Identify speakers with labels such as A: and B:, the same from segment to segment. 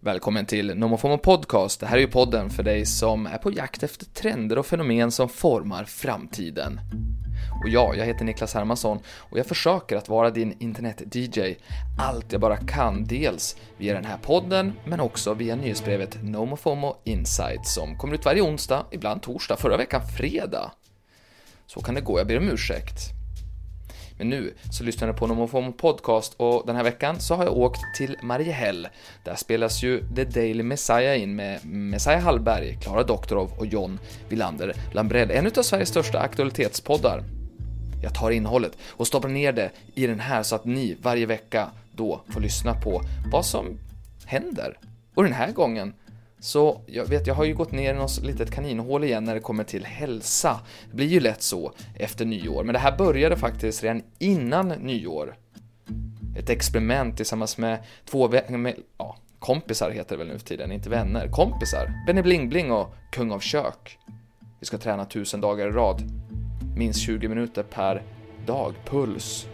A: Välkommen till NomoFomo Podcast. Det här är ju podden för dig som är på jakt efter trender och fenomen som formar framtiden. Och jag, jag heter Niklas Hermansson och jag försöker att vara din internet-DJ allt jag bara kan, dels via den här podden, men också via nyhetsbrevet NomoFomo Insight som kommer ut varje onsdag, ibland torsdag, förra veckan fredag. Så kan det gå, jag ber om ursäkt. Men nu så lyssnar ni på NomoFomo Podcast och den här veckan så har jag åkt till Mariehäll. Där spelas ju The Daily Messiah in med Messiah Hallberg, Klara Doktorov och John Wilander Lambrell, en av Sveriges största aktualitetspoddar. Jag tar innehållet och stoppar ner det i den här så att ni varje vecka då får lyssna på vad som händer. Och den här gången så jag vet, jag har ju gått ner i något litet kaninhål igen när det kommer till hälsa. Det blir ju lätt så efter nyår, men det här började faktiskt redan innan nyår. Ett experiment tillsammans med två vä- med, ja, kompisar heter det väl nu för tiden, inte vänner. Kompisar! Benny Bling Bling och Kung av Kök. Vi ska träna tusen dagar i rad. Minst 20 minuter per dag. Puls,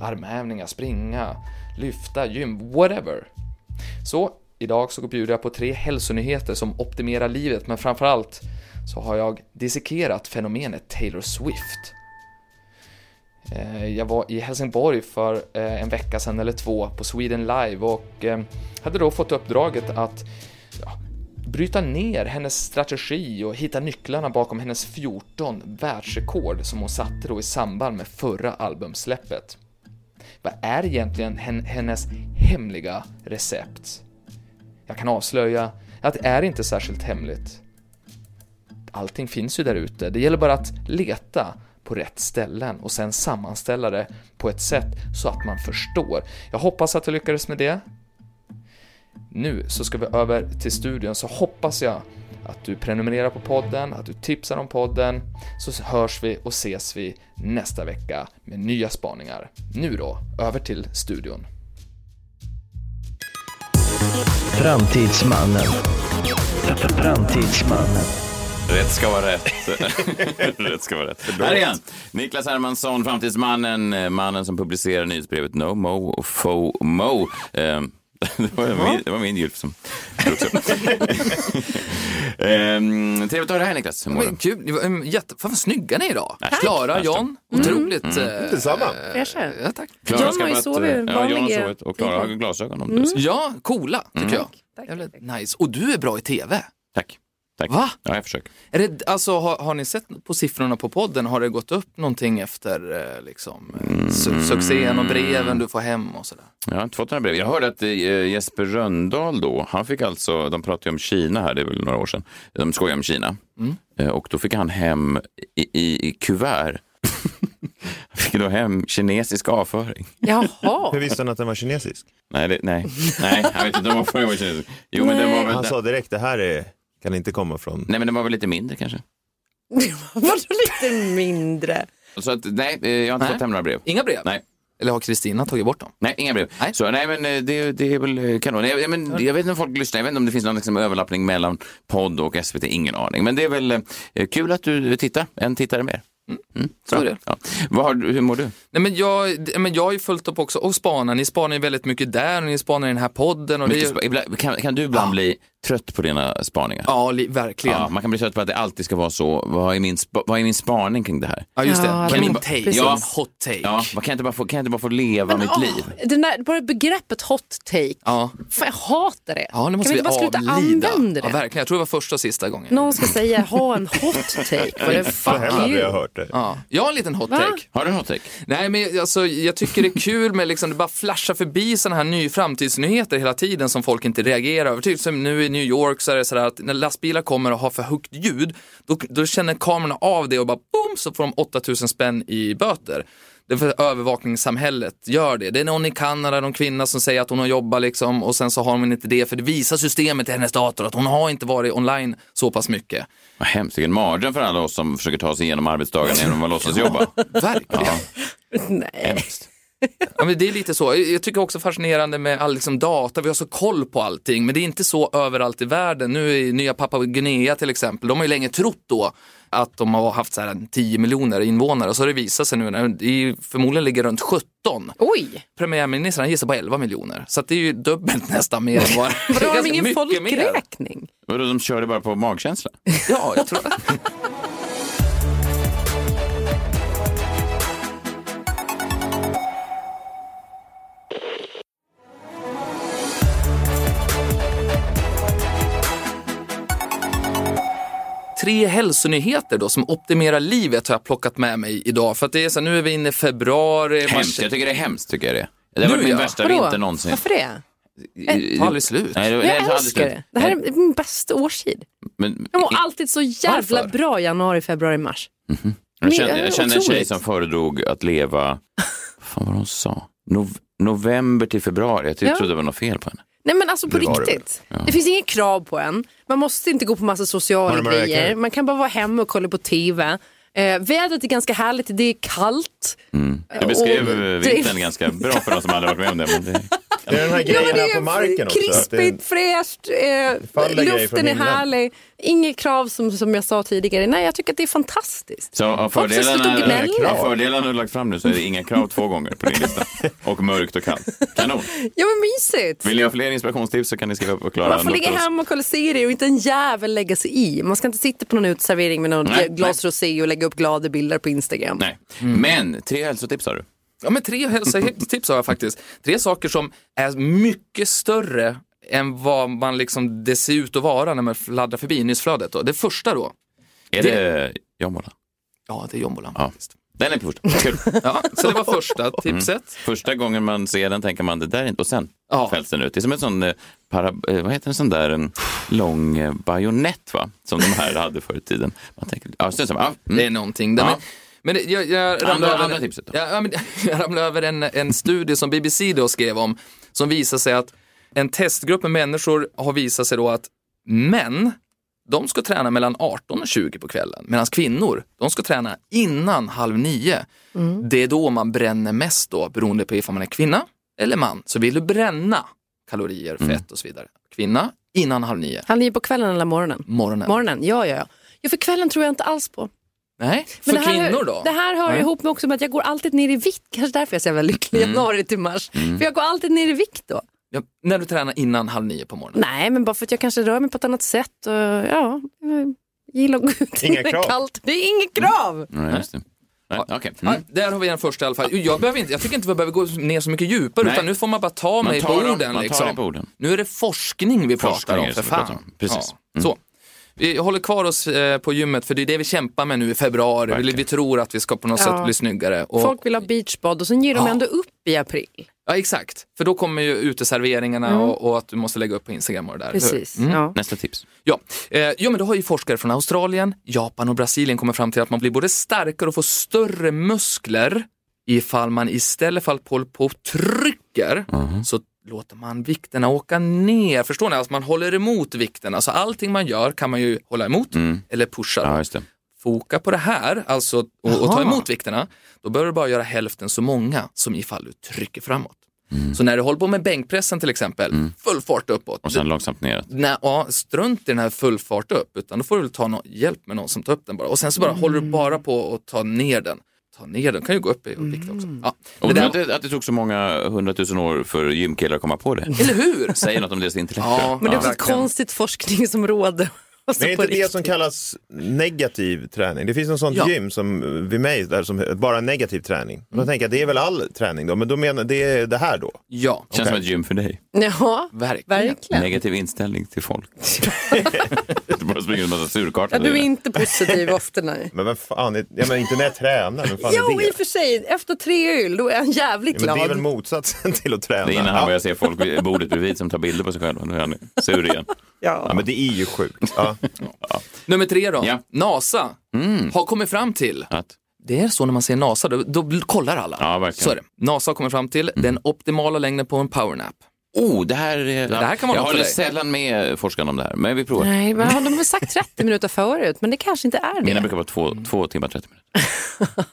A: armhävningar, springa, lyfta, gym, whatever. Så Idag så bjuder jag på tre hälsonyheter som optimerar livet, men framförallt så har jag dissekerat fenomenet Taylor Swift. Eh, Jag var i Helsingborg för eh, en vecka sedan eller två på Sweden Live och eh, hade då fått uppdraget att ja, bryta ner hennes strategi och hitta nycklarna bakom hennes 14 världsrekord som hon satte då i samband med förra albumsläppet. Vad är egentligen hennes hemliga recept? Jag kan avslöja att det är inte särskilt hemligt. Allting finns ju där ute, det gäller bara att leta på rätt ställen och sen sammanställa det på ett sätt så att man förstår. Jag hoppas att jag lyckades med det. Nu så ska vi över till studion så hoppas jag att du prenumererar på podden, att du tipsar om podden, så hörs vi och ses vi nästa vecka med nya spaningar. Nu då, över till studion.
B: Framtidsmannen. Framtidsmannen.
C: Rätt ska vara rätt. rätt ska vara rätt. Här är han. Niklas Hermansson, framtidsmannen, eh, mannen som publicerar nyhetsbrevet No Mo och FOMO. Eh, Det var, min, det var min gylf som drogs upp. Ehm, Trevligt att ha dig här Niklas. Hur mår du?
A: Men kul, det var, um, jätte, fan vad snygga ni är idag! Klara, John, otroligt. eh,
D: Detsamma.
E: Fräscha.
A: Ja, tack.
C: Klara
E: John
C: ska
E: har ju
C: bara att, eh,
E: sovit,
C: Ja, John har
E: vanlig-
C: sovit och Klara har glasögon om du.
A: Ja, coola tycker jag.
E: Tack,
A: Jävligt
E: tack.
A: nice. Och du är bra i TV.
C: Tack. Tack.
A: Va?
C: Ja, jag försöker.
A: Är det, alltså, har, har ni sett på siffrorna på podden? Har det gått upp någonting efter eh, liksom, eh, su- succén och breven du får hem och sådär?
C: Jag har inte fått några brev. Jag hörde att eh, Jesper Röndahl då, han fick alltså, de pratade ju om Kina här, det är väl några år sedan, de skojade om Kina.
D: Mm.
C: Eh, Och då fick han hem i, i, i kuvert, han fick då hem kinesisk avföring.
D: Hur
E: Jaha.
D: visste han att den var kinesisk?
C: Nej, det, nej, nej, jag vet inte om avföring var kinesisk. Jo, men den var väl,
D: Han sa direkt, det här är, kan inte komma från...
C: nej, men den var väl lite mindre kanske.
E: Vadå lite mindre?
C: Så att, nej, eh, jag har inte
A: Nej.
C: fått hem några brev.
A: Inga brev?
C: Nej.
A: Eller har Kristina tagit bort dem?
C: Nej, inga brev.
A: Nej.
C: Så, nej men eh, det, det är väl eh, kanon. Nej, jag- men, jag vet inte om folk lyssnar, jag vet inte om det finns någon liksom, överlappning mellan podd och SVT, ingen aning. Men det är väl eh, kul att du tittar, en tittare mer. Mm,
A: så
C: bra.
A: är det.
C: Ja. Vad har, du- hur mår du?
A: Nej, men jag, d- men jag har ju följt upp också och spanar. Ni spanar ju väldigt mycket där och ni spanar i den här podden. Och det är
C: Mycket
A: ju,
C: spa- ibland, kan, kan du ibland bli trött på dina spaningar?
A: ja, li, verkligen.
C: Ja,
A: Ja.
C: man kan bli trött på att det alltid ska vara så. Vad är min, spa, vad är min spaning kring det här?
A: just det.
E: Ja,
A: Kan
E: det
A: min
E: var-
A: take.
E: precis.
A: Ja, hot take.
C: Ja,
A: Ja.
C: vad kan, jag inte bara få, kan jag inte bara få leva mitt liv?
E: Den Ah, där, bara begreppet hot take.
A: Ja.
E: Fan, jag hatar det.
A: nu måste
E: kan vi
A: vi
E: inte bara sluta
A: avlida.
E: använda
A: Ja,
E: det?
A: verkligen. Jag tror det var första och sista gången.
E: Någon ska säga ha en hot take. Vad är
D: Så här
E: fuck
D: hade jag
E: you?
D: hört det.
A: Ja. Jag har en liten hot take.
C: Har du något take?
A: Nej, men alltså, jag tycker det är kul med liksom, det bara flashar förbi sådana här ny framtidsnyheter hela tiden som folk inte reagerar över. Typ som nu i New York så är det sådär att när lastbilar kommer och har för högt ljud, då, då känner kamerorna av det och bara boom så får de 8000 spänn i böter. Det är för övervakningssamhället gör det. Det är någon i Kanada, någon kvinna som säger att hon har jobbat liksom och sen så har hon inte det för det visar systemet i hennes dator att hon har inte varit online så pass mycket.
C: Vad hemskt, vilken mardröm för alla oss som försöker ta sig igenom arbetsdagen genom att låtsas jobba.
A: Verkligen.
C: Ja.
E: Nej.
C: Hemskt.
A: Ja, men det är lite så. Jag tycker också fascinerande med all liksom, data, vi har så koll på allting, men det är inte så överallt i världen. Nu i Nya Papua Guinea till exempel, de har ju länge trott då att de har haft så här, 10 miljoner invånare och så har det visat sig nu, när det är, förmodligen ligger runt 17.
E: Oj!
A: Premiärministern han gissar på 11 miljoner, så att det är ju dubbelt nästan mer. än vad-
E: Vadå, har de
A: Ganska
E: ingen
A: mycket mer.
E: folkräkning?
C: Vadå, de körde bara på magkänsla?
A: Ja, jag tror det. Tre hälsonyheter då som optimerar livet har jag plockat med mig idag. För att det är så här, nu är vi inne i februari. man-
C: Hemskt, jag tycker det är hemskt. Tycker jag det. det har
A: Nu
C: varit min
A: ja.
C: värsta
E: Vadå?
C: vinter någonsin.
E: Varför det?
C: Det-
A: Tar aldrig slut.
C: Nej, det- det
E: Jag
C: tar aldrig
E: älskar
C: slut.
E: det. Det här är min bästa årstid.
C: Men,
E: Jag mår alltid så jävla
A: Varför?
E: bra januari, februari, mars.
C: jag
E: Mer-
C: kände, jag kände en tjej
E: otroligt.
C: som föredrog att leva, vad fan var det hon sa? Nov, november till februari. Jag tyckte-
E: Ja.
C: trodde det var något fel på henne.
E: Nej men alltså på
D: Det var det
E: riktigt. Det, finns inget krav på en. Man måste inte gå på massa sociala
D: Har du Mariah
E: grejer.
D: Carey?
E: Man kan bara vara hemma och kolla på TV. Eh, vädret är ganska härligt, det är kallt.
D: Mm.
C: Du beskrev
E: Och-
C: eh,
E: det-
C: vintern ganska bra för de som aldrig varit med om det. Men det...
D: Det är den här grejen här på marken också. att det är-
E: krispigt, fräscht,
D: faller
E: eh,
D: grejer
E: luften
D: från
E: är
D: himlen.
E: härlig. Inget krav som, som jag sa tidigare. Nej, jag tycker att det är fantastiskt.
C: Så av
E: Folk som sitter och
C: fördelarna,
E: gnäller.
C: av fördelarna du lagt fram nu så är det inga krav två gånger på din lista. Och mörkt och kallt. Kanon.
E: Ja men mysigt.
C: Vill ni ha fler inspirationstips så kan ni skriva på Klara.
E: Man får ligga
C: Doktoros-
E: hemma och kolla serier och inte en jävel lägga sig i. Man ska inte sitta på någon uteservering med någon
C: Nej,
E: glas rosé och lägga upp glada bilder på Instagram.
C: Nej.
E: Mm.
C: Men tre hälsotips har du.
A: Ja, men tre hälsotips har jag faktiskt. Tre saker som är mycket större än vad man liksom, det ser ut att vara när man fladdrar förbi nyhetsflödet. Då. Det första då,
C: Är
A: Det-
C: det, Jombola?
A: ja det är jombolan
C: Ja.
A: faktiskt.
C: Den är på första. Kul.
A: Ja, så det var första tipset.
C: Första gången man ser den tänker man det där är inte. Och sen
A: Ja.
C: fälls den ut. Det är som en sån, eh, para, eh, vad heter en sån där en lång eh, bajonett va? Som de här hade förr i tiden. Man tänker, ja, sen så, ja,
A: Det
C: mm.
A: är någonting. Där.
C: Ja.
A: Men, men jag, jag ramlade
C: Andra-
A: över,
C: andra tipset då?
A: Ja, ja, men, jag ramlade över en, en studie som BBC då skrev om som visar sig att en testgrupp med människor har visat sig då att män, de ska träna mellan 18 och 20 på kvällen medan kvinnor, de ska träna innan halv nio.
E: Mm.
A: Det är då man bränner mest då beroende på ifall man är kvinna eller man. Så vill du bränna kalorier,
C: Mm.
A: fett och så vidare. Kvinna innan halv nio,
E: Han ligger på kvällen eller morgonen?
A: morgonen.
E: Morgonen, ja ja ja. Ja, för kvällen tror jag inte alls på.
A: Nej,
E: Men
A: för
E: det här,
A: kvinnor då?
E: Det här hör
A: Nej.
E: ihop med också med att jag går alltid ner i vikt. Kanske därför jag är så jävla lycklig
A: Mm.
E: januari till mars. För jag går alltid ner i vikt då.
A: Ja, när du tränar innan halv nio på morgonen.
E: Nej, men bara för att jag kanske rör mig på ett annat sätt. Och, ja, eh, gillar att gå ut när
D: Inga
E: det är
D: krav.
E: kallt. Det är inget krav.
A: Mm.
C: Nej, just det. Nej, okej.
A: Ja,
C: Mm.
A: där har vi den första i alla fall. Jag, behöver inte, jag tycker inte vi behöver gå ner så mycket djupare
C: Nej.
A: utan nu får man bara ta mig på
C: tar dem-
A: orden.
C: man tar
A: liksom.
C: dig på orden.
A: Nu är det forskning vi
C: Forskning
A: pratar
C: är
A: om
C: det
A: för
C: som vi pratar
A: fan.
C: om. Precis. Mm.
A: Så. Vi håller kvar oss eh, på gymmet för det är det vi kämpar med nu i februari. Vi,
C: Verkligen.
A: vi tror att vi ska på något
E: Ja.
A: sätt bli snyggare. Och,
E: Folk vill ha beachbad och sen ger de
A: Ja.
E: ändå upp i april.
A: Ja exakt, för då kommer ju uteserveringarna och, och att du måste lägga upp på Instagram och det där. Mm. eller hur?
E: Mm. Precis. Ja.
C: Nästa tips.
A: Ja. Eh, ja, men då har ju forskare från Australien, Japan och Brasilien kommit fram till att man blir både starkare och får större muskler ifall man istället för att hålla på och trycker
C: Mm.
A: så låter man vikterna åka ner. Förstår ni? Alltså man håller emot vikterna. Så allting man gör kan man ju hålla emot eller pusha.
C: Mm. Ja, just det.
A: Foka på det här, alltså och, och ta
E: Jaha.
A: emot vikterna, då behöver du bara göra hälften så många som ifall du trycker framåt. Så när du håller på med bänkpressen till exempel, full fart uppåt.
C: Mm. Och sen långsamt neråt.
A: Nej, ja, strunt i den här full fart upp, utan då får du väl ta nå- hjälp med någon som tar upp den bara. Och sen så bara håller du bara på att ta ner den. Ta ner den kan ju gå upp i vikt också. Ja.
C: Och
A: Det
C: tror
A: där,
C: att, det, att det tog så många hundratusen år för gymkillar att komma på det.
A: eller hur?
C: Säger något om deras intellekt.
A: Ja,
E: Men det är också ett
A: verkligen.
E: konstigt forskningsområde. Alltså
D: Men är
E: på
D: inte det
E: riktigt.
D: som kallas negativ träning? Det finns en sån
A: Ja.
D: gym som eh, vid mig där som eh, bara negativ träning. Då tänker jag det är väl all träning då, men då menar det är det här då.
A: Ja,
C: Känns som ett gym för dig.
E: Ja,
A: verkligen.
E: verkligen.
C: Negativ inställning till folk. du bara springer en massa surkartor.
E: Ja, du är inte positiv ofta, nej.
D: Men vem fan, är, ja, men inte när jag tränar, vem fan
E: Jo,
D: är det?
E: i och för sig. Efter tre öl, då är han jävligt
D: Ja, men det är väl
E: glad.
D: motsatsen till att träna.
C: Det är innan han
D: Ja.
C: börjar se folk vid bordet bredvid som tar bilder på sig själva. Nu är han sur igen.
D: Ja, men det är ju sjukt. Ja.
A: Nummer tre då.
C: Ja.
A: NASA har kommit fram till,
C: Att,
A: det är så när man ser NASA, då, då bl- kollar alla.
C: Ja, verkligen.
A: Så är det. NASA har kommit fram till den optimala längden på en powernap.
C: Oh, det här, är-
A: Det här kan man
C: jag
A: ha för
C: håller
A: dig.
C: sällan med forskarna om det här, men vi provar.
E: Nej, men har de har sagt 30 minuter förut, men det kanske inte är
C: Mina
E: det.
C: brukar vara två, två timmar 30 minuter.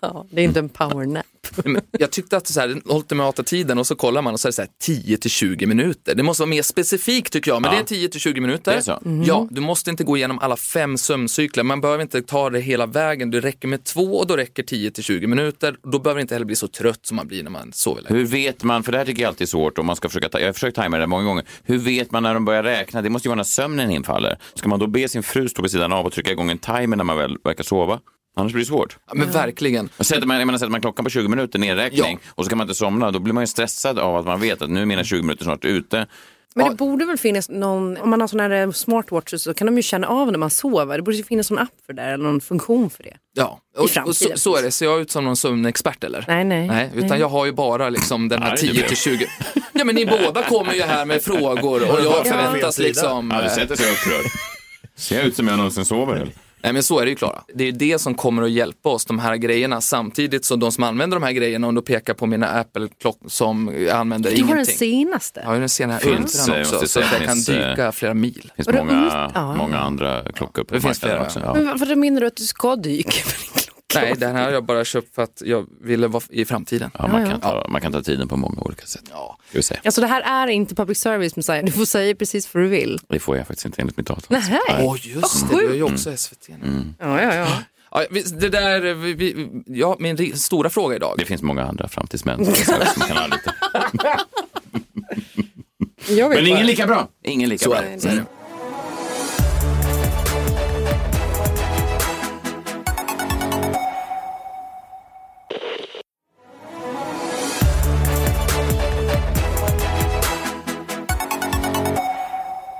E: Ja, det är inte en powernap.
A: Nej, men Jag tyckte att så här, den ultimata tiden och så kollar man och så är det så här 10 till 20 minuter. Det måste vara mer specifikt tycker jag, men
C: Ja.
A: det är 10 till 20 minuter.
C: Det är så?
E: Mm.
A: Ja, du måste inte gå igenom alla fem sömncykler. Man behöver inte ta det hela vägen. Det räcker med två och då räcker 10 till 20 minuter. Då behöver det inte heller bli så trött som man blir när man sover länge.
C: Hur vet man, för det här tycker jag alltid är svårt, om man ska försöka ta, jag har försökt tajma det här många gånger, hur vet man när de börjar räkna? Det måste ju vara när sömnen infaller. Ska man då be sin fru stå på sidan av och trycka igång en timer när man väl verkar sova? Annars blir det svårt.
A: Ja, men verkligen.
C: Och sätter man, jag menar, sätter man klockan på 20 minuter nedräkning och så kan man inte somna, då blir man ju stressad av att man vet att nu är mina 20 minuter snart ute.
E: Men det borde väl finnas någon, om man har sådana här eh, smartwatches så kan de ju känna av när man sover. Det borde ju finnas någon app för det eller någon funktion för det.
A: Ja, och, och så,
E: framtiden.
A: så är det. Ser jag ut som någon sömnexpert eller?
E: Nej, nej.
A: utan jag har ju bara liksom den här
C: Nej, det
A: 10 till 20. Ja, men ni båda kommer ju här med frågor och jag förväntas
D: fel sida.
A: liksom...
C: Ja, du
A: eh,
C: sätter sig upprörd. Ser jag ut som jag någonsin sover? Eller?
A: Nej men så är det ju Klara. Det är ju det som kommer att hjälpa oss, de här grejerna. Samtidigt som de som använder de här grejerna, om du pekar på mina Apple-klockor som jag använder
E: Du har den
A: ingenting.
E: senaste.
A: Jag har ju den senare
C: Finns, eh,
A: ultran också,
C: måste
A: så att jag
C: säga,
A: kan
C: finns,
A: dyka flera mil.
C: Det
E: Och
C: finns
E: det-
C: många,
E: ja.
C: många andra klockor på
A: Det finns
C: marknaden
A: flera,
C: också.
A: ja.
C: Ja.
E: Men vad- vadå menar du att du ska dyka för din klocka?
A: Nej, den här har jag bara köpt för att jag ville vara i framtiden.
C: Ja, man, kan ta, man kan ta tiden på många olika sätt.
A: Ja.
C: Ska vi se.
E: Alltså det här är inte public service Messiah, du får säga precis vad du vill.
C: Det får jag faktiskt inte enligt mitt avtal.
E: Nej.
A: Åh just det, du är ju
C: Mm.
A: också SVT nu.
E: Ja, ja, ja.
A: Ja, vi- det där, eh, vi, vi, ja, min ri- stora fråga idag.
C: Det finns många andra framtidsmän som man kan anlita.
E: Jag vet
C: Men
E: bara.
C: ingen lika bra. Ingen lika
A: Så
C: bra.
A: är det. Så är det.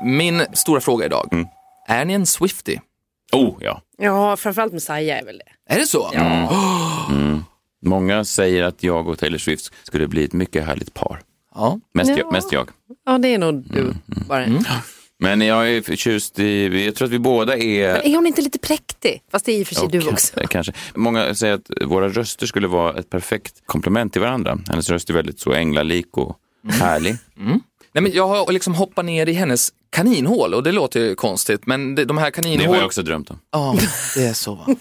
A: Min stora fråga idag.
C: Mm.
A: Är ni en Swifty?
C: Oh, ja.
E: Ja, framförallt Messiah är väl det.
A: Är det så?
C: Många säger att jag och Taylor Swift skulle bli ett mycket härligt par.
A: Ja.
C: Mest,
E: Ja.
C: jag, mest jag.
E: Ja, det är nog du
D: Mm,
E: bara.
C: Men jag är förtjust i, jag tror att vi båda är...
E: Är hon inte lite präktig? Fast det är i och för sig
C: Ja,
E: du också.
C: kanske- Kanske. Många säger att våra röster skulle vara ett perfekt komplement till varandra. Hennes röst är väldigt så änglalik och härlig.
A: Nej, men jag har liksom hoppat ner i hennes kaninhål och det låter ju konstigt men det, de här
C: Det
A: kaninhålen...
C: har jag också drömt om.
A: Ja, det är så va.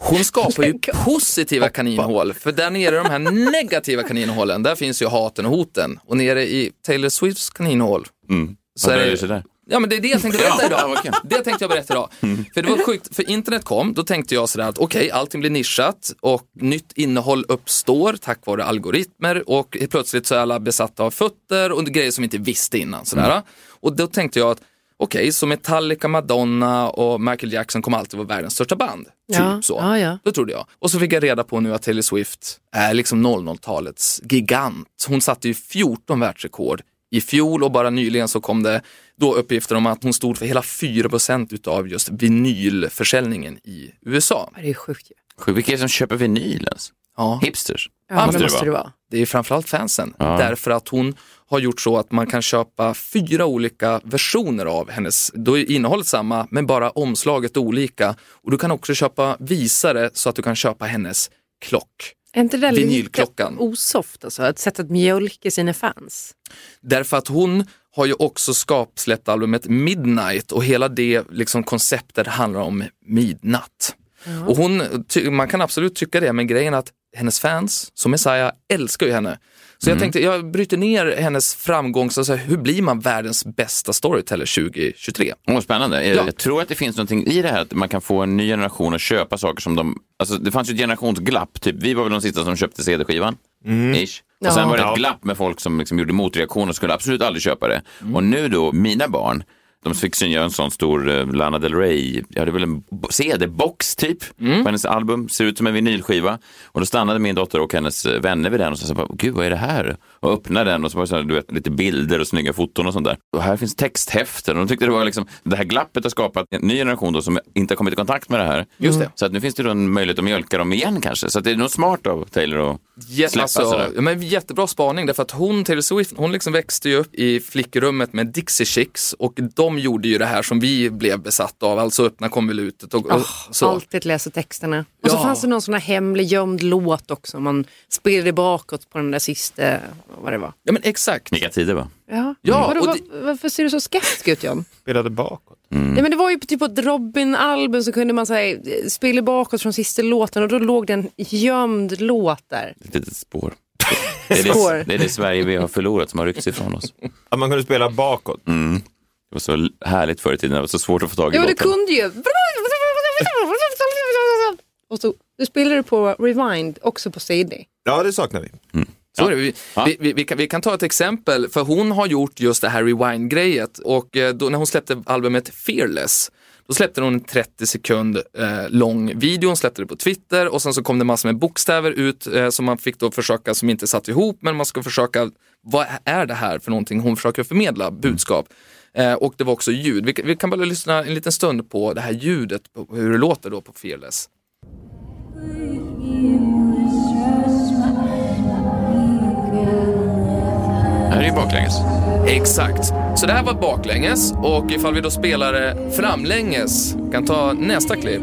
A: Hon skapar ju positiva kaninhål, för där nere i de här negativa kaninhålen, där finns ju haten och hoten. Och nere i Taylor Swifts kaninhål så
C: Mm. Vad
A: är
C: dröjer
A: det
C: sig där?
A: Ja men det är det jag tänkte berätta
C: Ja,
A: idag.
C: ja, okej. Mm.
A: Det tänkte jag berätta idag. För det var sjukt, för internet kom, då tänkte jag sådär att okej, allting blir nischat och nytt innehåll uppstår tack vare algoritmer och plötsligt så är alla besatta av fötter och grejer som vi inte visste innan. Sådär.
C: Mm.
A: Och då tänkte jag att okej, så Metallica, Madonna och Michael Jackson kommer alltid vara världens största band. Typ
E: Ja,
A: så.
E: ja, ja.
A: Då trodde jag. Och så fick jag reda på nu att Taylor Swift är liksom 00-talets gigant. Hon satte ju 14 världsrekord i fjol och bara nyligen så kom det då uppgifter om att hon stod för hela 4 utav just vinylförsäljningen i USA.
E: Det är sjukt ju.
C: Sjukt, Vilka är det som köper vinyl ens?
A: Ja.
C: Hipsters?
E: Ja,
A: måste
E: det
A: det
E: måste det vara.
A: Det är framförallt fansen,
C: Ja.
A: därför att hon har gjort så att man kan köpa fyra olika versioner av hennes, då är innehållet samma men bara omslaget olika. Och du kan också köpa visare så att du kan köpa hennes klock.
E: Är inte det där lite
A: Vinylklockan.
E: osoft alltså? Ett sätt att mjölka sina fans.
A: Därför att hon har ju också skap- släppt albumet Midnight och hela det liksom, konceptet handlar om midnatt. Och hon, ty- man kan absolut tycka det, men grejen är att hennes fans, som Messiah, älskar ju henne. Så
C: Mm.
A: jag tänkte, jag bryter ner hennes framgång, så att säga, hur blir man världens bästa storyteller 2023?
C: Åh, spännande. Jag,
A: Ja.
C: jag tror att det finns någonting i det här att man kan få en ny generation att köpa saker som de... Alltså, det fanns ju ett generationsglapp. Typ, vi var väl de sista som köpte CD-skivan. Ish. Och sen
E: Ja.
C: var det ett
D: Ja.
C: glapp med folk som liksom gjorde motreaktioner och skulle absolut aldrig köpa det. Och nu då, mina barn, de fick synliggöra en sån stor eh, Lana Del Rey, ja det är väl en bo- CD-box typ, på hennes album, ser ut som en vinylskiva. Och då stannade min dotter och hennes eh, vänner vid den och så sa bara, gud vad är det här? Och öppnade den och så var det så här, du vet, lite bilder och snygga foton och sånt där. Och här finns texthäften och de tyckte det var liksom, det här glappet har skapat en ny generation då som inte har kommit i kontakt med det här. Just det. Så att nu finns det då en möjlighet att mjölka dem igen kanske. Så att det är nog smart av Taylor att
A: Jä-
C: släppa
A: alltså,
C: sådär.
A: ja, men jättebra spaning därför att hon, Taylor Swift, hon liksom växte ju upp i flickrummet med Dixie Chicks och de de gjorde ju det här som vi blev besatta av, alltså öppna konvolutet och, och
C: Ah,
A: så.
E: Alltid läsa texterna. Och så
A: Ja.
E: fanns det någon sån här hemlig gömd låt också. Man spelade bakåt på den där sista, vad det var.
A: Ja men exakt.
C: Vilka tider va?
E: Ja.
A: Ja,
E: Vadå,
A: och
E: var, Varför ser du så skeptisk ut John?
D: Spelade bakåt.
A: Mm.
E: Nej, men det var ju på typ på ett Robin-album så kunde man så här, eh, spela bakåt från sista låten och då låg det en gömd låt där.
C: Ett litet spår. Det är
E: Spår.
C: det, det är det Sverige vi har förlorat som har ryckts ifrån oss. Det
D: Att man kunde spela bakåt.
C: var så härligt förr i tiden, det var så svårt att få tag i
E: Ja, men du
C: låten.
E: kunde ju. Och så du spelade du på Rewind, också på CD.
D: Ja, det saknar vi.
A: Så är det. Vi, vi, vi, vi, kan, vi kan ta ett exempel, för hon har gjort just det här rewind-grejet och eh, då, när hon släppte albumet Fearless då släppte hon en 30 sekund eh, lång video, hon släppte det på Twitter och sen så kom det massor med bokstäver ut eh, som man fick då försöka, som inte satt ihop, men man ska försöka, vad är det här för någonting hon försöker förmedla, budskap. Eh, och det var också ljud. Vi, vi kan bara lyssna en liten stund på det här ljudet, på hur det låter då på Fearless.
C: Det här är ju baklänges.
A: Exakt. Så det här var baklänges och ifall vi då spelar det framlänges, kan ta nästa klipp.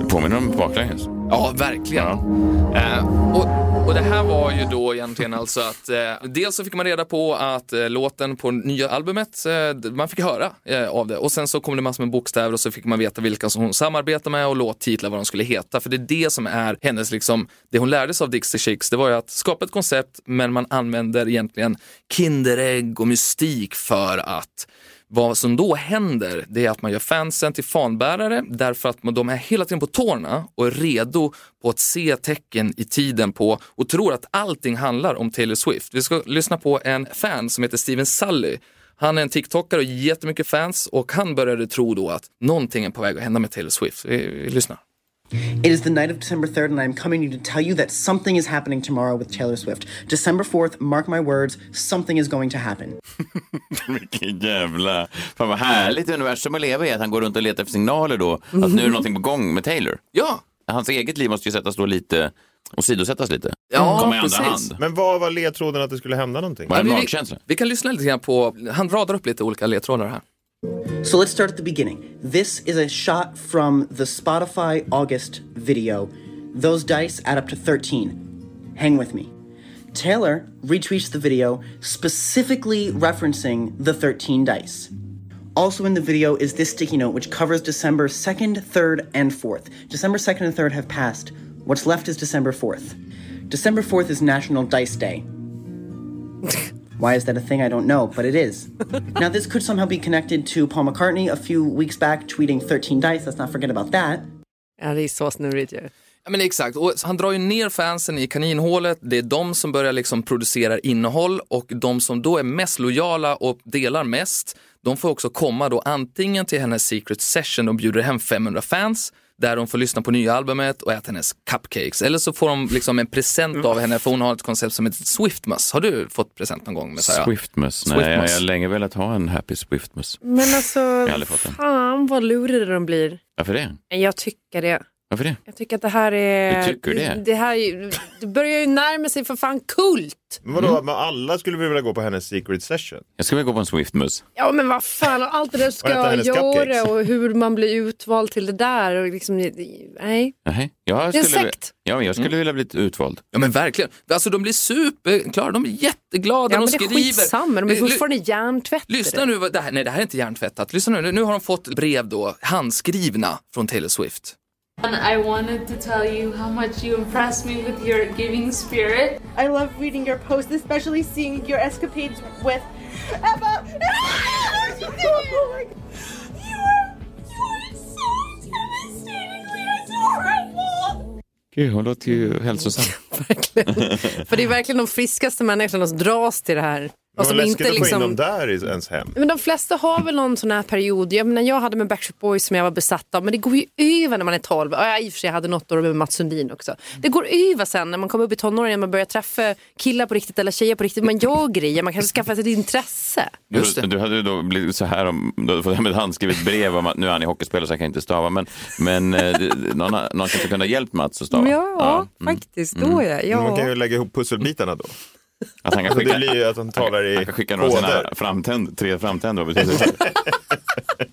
C: Det påminner om baklänges.
A: Ja, verkligen. Eh, och, och det här var ju då egentligen alltså att eh, dels så fick man reda på att eh, låten på nya albumet, eh, d- man fick höra eh, av det och sen så kom det massor med bokstäver och så fick man veta vilka som hon samarbetar med och låttitlar vad de skulle heta. För det är det som är hennes, liksom, det hon lärde sig av Dixie Chicks, det var ju att skapa ett koncept men man använder egentligen Kinderägg och mystik för att vad som då händer det är att man gör fansen till fanbärare därför att man- de är hela tiden på tårna och är redo på att se tecken i tiden på och tror att allting handlar om Taylor Swift. Vi ska lyssna på en fan som heter Steven Sully. Han är en TikTokare och jättemycket fans och han började tro då att någonting är på väg att hända med Taylor Swift. Vi, vi lyssnar.
B: It is the night of December 3rd, and I'm coming to tell you that something is happening tomorrow with Taylor Swift. December 4th, mark my words, something is going to happen.
C: Vilken jävla... Fan vad härligt universum att leva i, att han går runt och letar efter signaler då. Att nu är det någonting på gång med Taylor.
A: Ja,
C: Hans eget liv måste ju sättas då lite, åsidosättas lite.
A: Ja,
C: Komma i andra
A: precis.
C: hand.
D: Men vad var ledtråden att det skulle hända någonting?
C: Var det en
A: vi,
C: magkänsla?
A: vi kan lyssna lite grann på, han radar upp lite olika ledtrådar här.
B: So let's start at the beginning. This is a shot from the Spotify August video. Those dice add up to 13. Hang with me. Taylor retweets the video specifically referencing the 13 dice. Also in the video is this sticky note which covers December 2nd, 3rd, and 4th. December 2nd and 3rd have passed. What's left is December 4th. December 4th is National Dice Day. Why is that a thing? I don't know, but it is. now, this could somehow be connected to Paul McCartney a few weeks back tweeting 13 dice. Let's not forget about that.
E: Ja, det är så snurrigt ju.
A: Ja, men exakt, och han drar ju ner fansen i kaninhålet. Det är de som börjar liksom producera innehåll och de som då är mest lojala och delar mest, de får också komma då antingen till hennes secret session, de bjuder hem 500 fans, där de får lyssna på nya albumet och äta hennes cupcakes. Eller så får de liksom en present av henne, för hon har ett koncept som heter Swiftmus. Har du fått present någon gång? Med så här?
C: Swiftmus. Nej,
A: Swiftmus.
C: jag jag har länge velat ha en happy Swiftmus.
E: Men alltså,
C: aldrig fått den.
E: fan vad luriga de blir.
C: Varför det?
E: Jag tycker det.
C: Varför det?
E: Jag tycker att det här är...
C: Du tycker det?
E: Det, här är ju- det börjar ju närma sig för fan kult.
D: Men vadå, men alla skulle vi vilja gå på hennes secret session?
C: Jag skulle vilja gå på en Swiftmus.
E: Ja men vad fan, och allt det där ska
D: Vad heter
E: jag
D: hennes
E: göra
D: cupcakes?
E: och hur man blir utvald till det där. Och liksom, nej.
C: Nej, jag
E: Det är
C: skulle,
E: en sekt.
C: Ja, men jag skulle vilja bli utvald.
A: Ja men verkligen, alltså de blir superklara, de blir jätteglada,
E: Ja, men
A: de
E: det är
A: skriver.
E: skitsamma, de är
A: Ly-
E: fortfarande hjärntvättade.
A: Lyssna nu, vad- det här, nej det här är inte hjärntvättat. Lyssna nu, nu har de fått brev då, handskrivna från Taylor Swift.
F: And I wanted to tell you how much you impressed me with your giving spirit.
G: I love reading your posts, especially seeing your escapades with Emma. oh my God. You are, you are so devastatingly adorable.
C: Gud, hon låter ju hälsosam.
E: Verkligen. För det är verkligen de friskaste människorna som dras till det här. Alltså,
D: Vad
E: men
D: läskigt
E: inte
D: att få
E: liksom-
D: in dem där i ens hem.
E: Men de flesta har väl någon sån här period. Jag, menar, jag hade med Backstreet Boys som jag var besatt av, men det går ju över när man är 12. Ja, i och för sig, jag hade något år med Mats Sundin också. Det går över sen när man kommer upp i tonåren, man börjar träffa killar på riktigt eller tjejer på riktigt. Man gör grejer, man kanske skaffar sig ett intresse.
A: Just det.
C: Du, du hade ju då blivit så här om, du hade fått hem ett handskrivet brev om att nu är han i hockeyspelare så jag kan inte stava. Men, men eh, det- någon, har- någon kanske kunde ha hjälpt Mats att stava.
E: faktiskt.
A: Mm.
E: Då ja.
D: Man kan ju lägga ihop pusselbitarna då.
C: Att han kan
D: Så det
C: skicka,
D: blir ju att han talar i
C: han kan skicka några av sina
D: koder.
C: framtänd, tre framtänder. vad betyder det?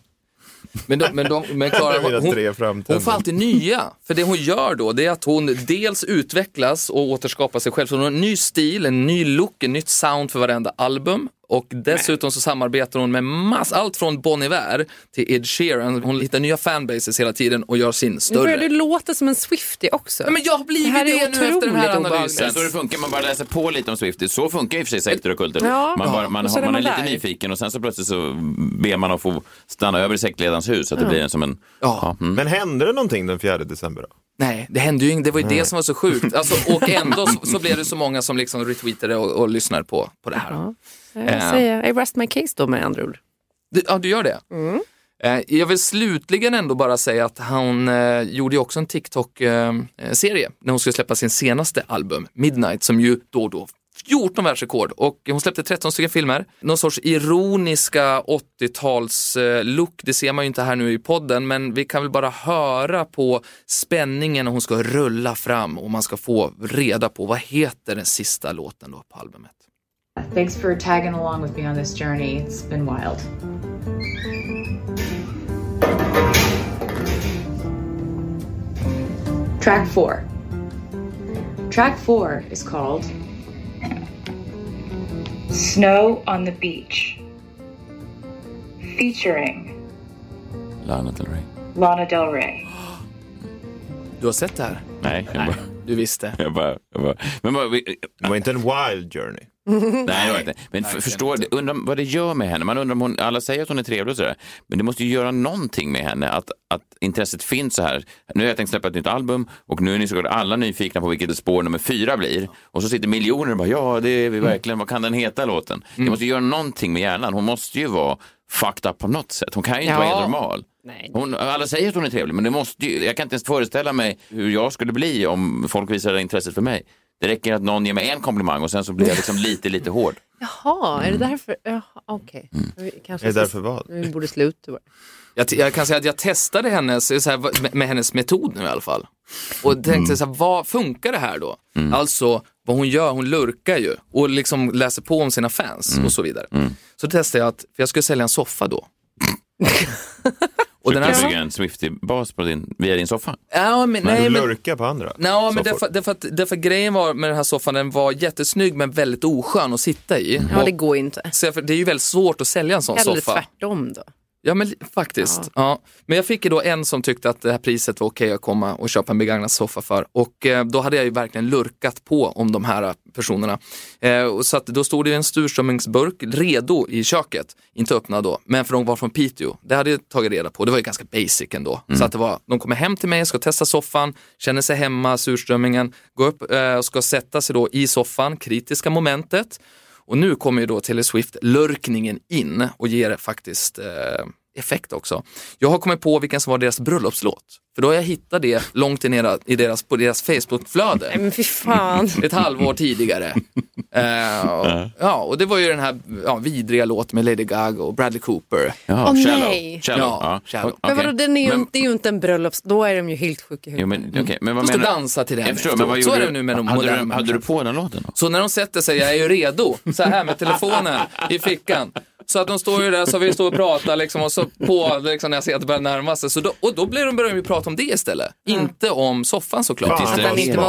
A: Men, de, men, de, men Klara,
D: Mina tre
A: hon,
D: framtänder.
A: hon får alltid nya. För det hon gör då, det är att hon dels utvecklas och återskapar sig själv. Så hon har en ny stil, en ny look, ett nytt sound för varenda album. Och dessutom så samarbetar hon med mass, allt från Bon Iver till Ed Sheeran. Hon hittar nya fanbases hela tiden och gör sin
E: Nu börjar
A: större.
E: du låta som en Swiftie också.
A: Nej, men jag har blivit
E: Det här
A: det,
E: är
A: nu efter den här
E: otroligt
C: Det
A: analysen.
C: är så det funkar, man bara läser på lite om Swifties. Så funkar i och för sig sekter och kulter.
E: Ja,
C: man, bara, man,
E: och så
C: har-
E: är
C: man är
E: man
C: lite
E: där.
C: nyfiken och sen så plötsligt så ber man att få stanna över i sektledarens hus. Så att det blir en som en... Ja, mm.
D: Men hände det någonting den 4 december? Då?
A: Nej, det hände ju inget. Det var ju det som var så sjukt. Alltså, och ändå så, så blev det så många som liksom retweetade och, och lyssnade på, på det här.
E: Jag säger, I rest my case då med andra ord.
A: Du, ja, du gör det? Eh, Jag vill slutligen ändå bara säga att hon eh, gjorde ju också en TikTok-serie när hon skulle släppa sin senaste album, Midnight, som ju då och då 14 världsrekord och hon släppte 13 stycken filmer. Någon sorts ironiska 80-tals-look, det ser man ju inte här nu i podden, men vi kan väl bara höra på spänningen när hon ska rulla fram och man ska få reda på vad heter den sista låten då på albumet.
H: Thanks for tagging along with me on this journey. It's been wild. Track four. Track four is called Snow on the Beach, featuring
C: Lana Del Rey.
H: Lana Del Rey.
A: Du har sett det här?
C: Nej, jag bara...
A: Du visste.
C: Jag bara, jag bara, men bara, vi,
D: Det var inte en wild journey.
C: Mm. nej, det var inte. Men f- förstår, du, undrar vad det gör med henne. Man undrar om hon, alla säger att hon är trevlig och sådär, men det måste ju göra någonting med henne att, att intresset finns så här. Nu har jag tänkt släppa ett nytt album och nu är ni såklart alla nyfikna på vilket spår nummer fyra blir. Och så sitter miljoner och bara, ja, det är vi verkligen, vad kan den heta låten? Det måste ju göra någonting med hjärnan. Hon måste ju vara fucked up på något sätt. Hon kan ju inte
E: Ja.
C: vara helt normal.
E: Nej.
C: Hon, alla säger att hon är trevlig, men det måste ju, jag kan inte ens föreställa mig hur jag skulle bli om folk visade intresset för mig. Det räcker att någon ger mig en komplimang och sen så blir jag liksom lite, lite hård.
E: Jaha, är det därför? Jaha, Okej. Vi kanske
D: Är det
E: ska-
D: därför vad?
E: Vi borde sluta. bara.
A: Jag, t- jag kan säga att jag testade hennes, så här, vad- med, med hennes metod nu i alla fall. Och tänkte
E: Mm.
A: så här, vad funkar det här då? Alltså, vad hon gör, hon lurkar ju och liksom läser på om sina fans
E: Mm.
A: och så vidare. Så testade jag att, för jag skulle sälja en soffa då. och
C: Och den
A: den
C: här
A: här
C: bygga en Swiftie-bas på din, via din soffa.
A: Ja, men, nej,
D: Du
A: men,
D: lurkar på andra
A: Nej, men
D: soffor.
A: därför, därför, att, därför att grejen var med den här soffan, den var jättesnygg men väldigt oskön att sitta i.
E: Mm. Ja,
A: Och-
E: det går ju inte.
A: så jag- det är ju väldigt svårt att sälja en sån
E: Eller
A: soffa.
E: tvärtom då.
A: Ja men li- faktiskt. Ja. Men jag fick ju då en som tyckte att det här priset var okej att komma och köpa en begagnad soffa för. Och eh, då hade jag ju verkligen lurkat på om de här eh, personerna. Eh, och så att då stod det ju en surströmmingsburk redo i köket. Inte öppnad då, men för de var från Piteå. Det hade jag tagit reda på. Det var ju ganska basic ändå. Så att det var, de kommer hem till mig, ska testa soffan, känner sig hemma, surströmmingen. Går upp eh, och ska sätta sig då i soffan, kritiska momentet. Och nu kommer ju då Taylor Swift-lurkningen in och ger faktiskt eh, effekt också. Jag har kommit på vilken som var deras bröllopslåt. För då har jag hittat det långt in i era- i deras, på deras Facebook-flöde
E: Men fy fan.
A: ett halvår tidigare. Eh, och, ja, och det var ju den här ja, vidriga låten med Lady Gaga och Bradley Cooper.
C: Ja,
E: Åh,
C: shallow.
E: nej.
C: Shallow.
A: Ja, shallow.
C: okej.
E: Men vadå, den är ju,
C: Men-
E: det är ju inte en bröllops... Då är de ju helt sjuka i
C: Jo,
E: huvudet.
C: men, okej, men vad
A: De ska
C: menar
A: dansa till den
C: Jag förstår, men
A: efteråt.
C: vad
A: Så
C: gjorde
A: är det
C: du-
A: nu med de
C: hade
A: moderna
C: du, hade du
A: människorna.
C: på den låten? Då?
A: Så när de sätter sig, jag är ju redo, så här med telefonen i fickan. Så att de står ju där, så vi står och pratar liksom, och så på liksom, när jag ser att det börjar närma sig. Så då, och då blir de, börjar de ju prata om det istället. Inte om soffan såklart.
D: Fan,
A: Tills
E: Att
D: vad
E: den
A: det-
E: inte var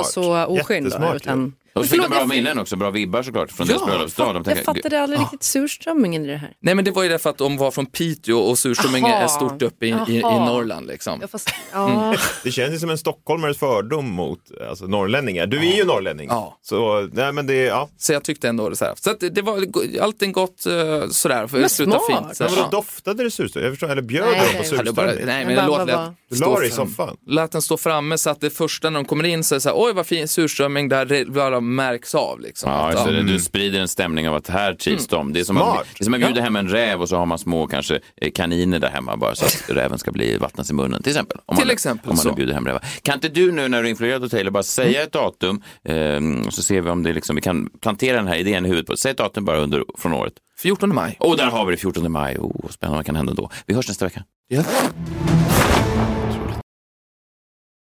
E: så
D: smart.
E: oskyldig.
D: Jättesmart ju.
E: Utan...
C: Och så fick de bra
E: jag,
C: minnen också, bra vibbar såklart från deras bröllopsdag. De
E: jag
C: tänker,
E: fattade aldrig riktigt surströmmingen i det här.
A: Nej men det var ju därför att de var från Piteå och surströmmingen
E: Aha.
A: är stort uppe i, i, i
E: Aha.
A: Norrland liksom.
E: Jag fast, ja.
D: Det känns ju som en stockholmares fördom mot alltså, norrlänningar. Du är ju norrlänning.
A: Ja.
D: Så nej, men det är, ja.
A: Så jag tyckte ändå det så här. Så att det, det var allting gott eh, sådär. För
E: Men
A: det slutade
E: smart.
A: fint. Så,
D: Men
A: här,
D: vadå,
A: ja.
D: doftade det surströmming? Jag förstår, eller bjöd
E: Nej, det-
D: de på
A: Jag hade bara,
D: surströmming?
A: nej
E: Men
A: men
E: bara-
A: låt
E: bara-
A: lät,
D: Du
A: stå
D: la dig i
A: fram.
D: soffan?
A: lät den stå framme så att det första när de kommer in så är det så här, oj vad fin surströmming, där, bla, bla, bara märks av liksom.
C: Ja,
A: Att,
C: just det.
A: ja, Mm.
C: Du sprider en stämning av att här trivs de. Det är som att
D: Smart.
C: det är som att bjuda hem en räv och så har man små kanske eh, kaniner där hemma bara så att räven ska bli vattnas i munnen till exempel. Om
A: Till
C: man,
A: exempel
C: om man
A: så. Mm.
C: nu bjuder hem rävar. Kan inte du nu när du är influerad av Taylor bara säga ett datum eh, och så ser vi om det liksom, vi kan plantera den här idén i huvudet på. Säg ett datum bara under, från året.
A: 14 maj.
C: Och där har vi det 14 maj. Oh, spännande vad kan hända då. Vi hörs nästa vecka.
A: Ja.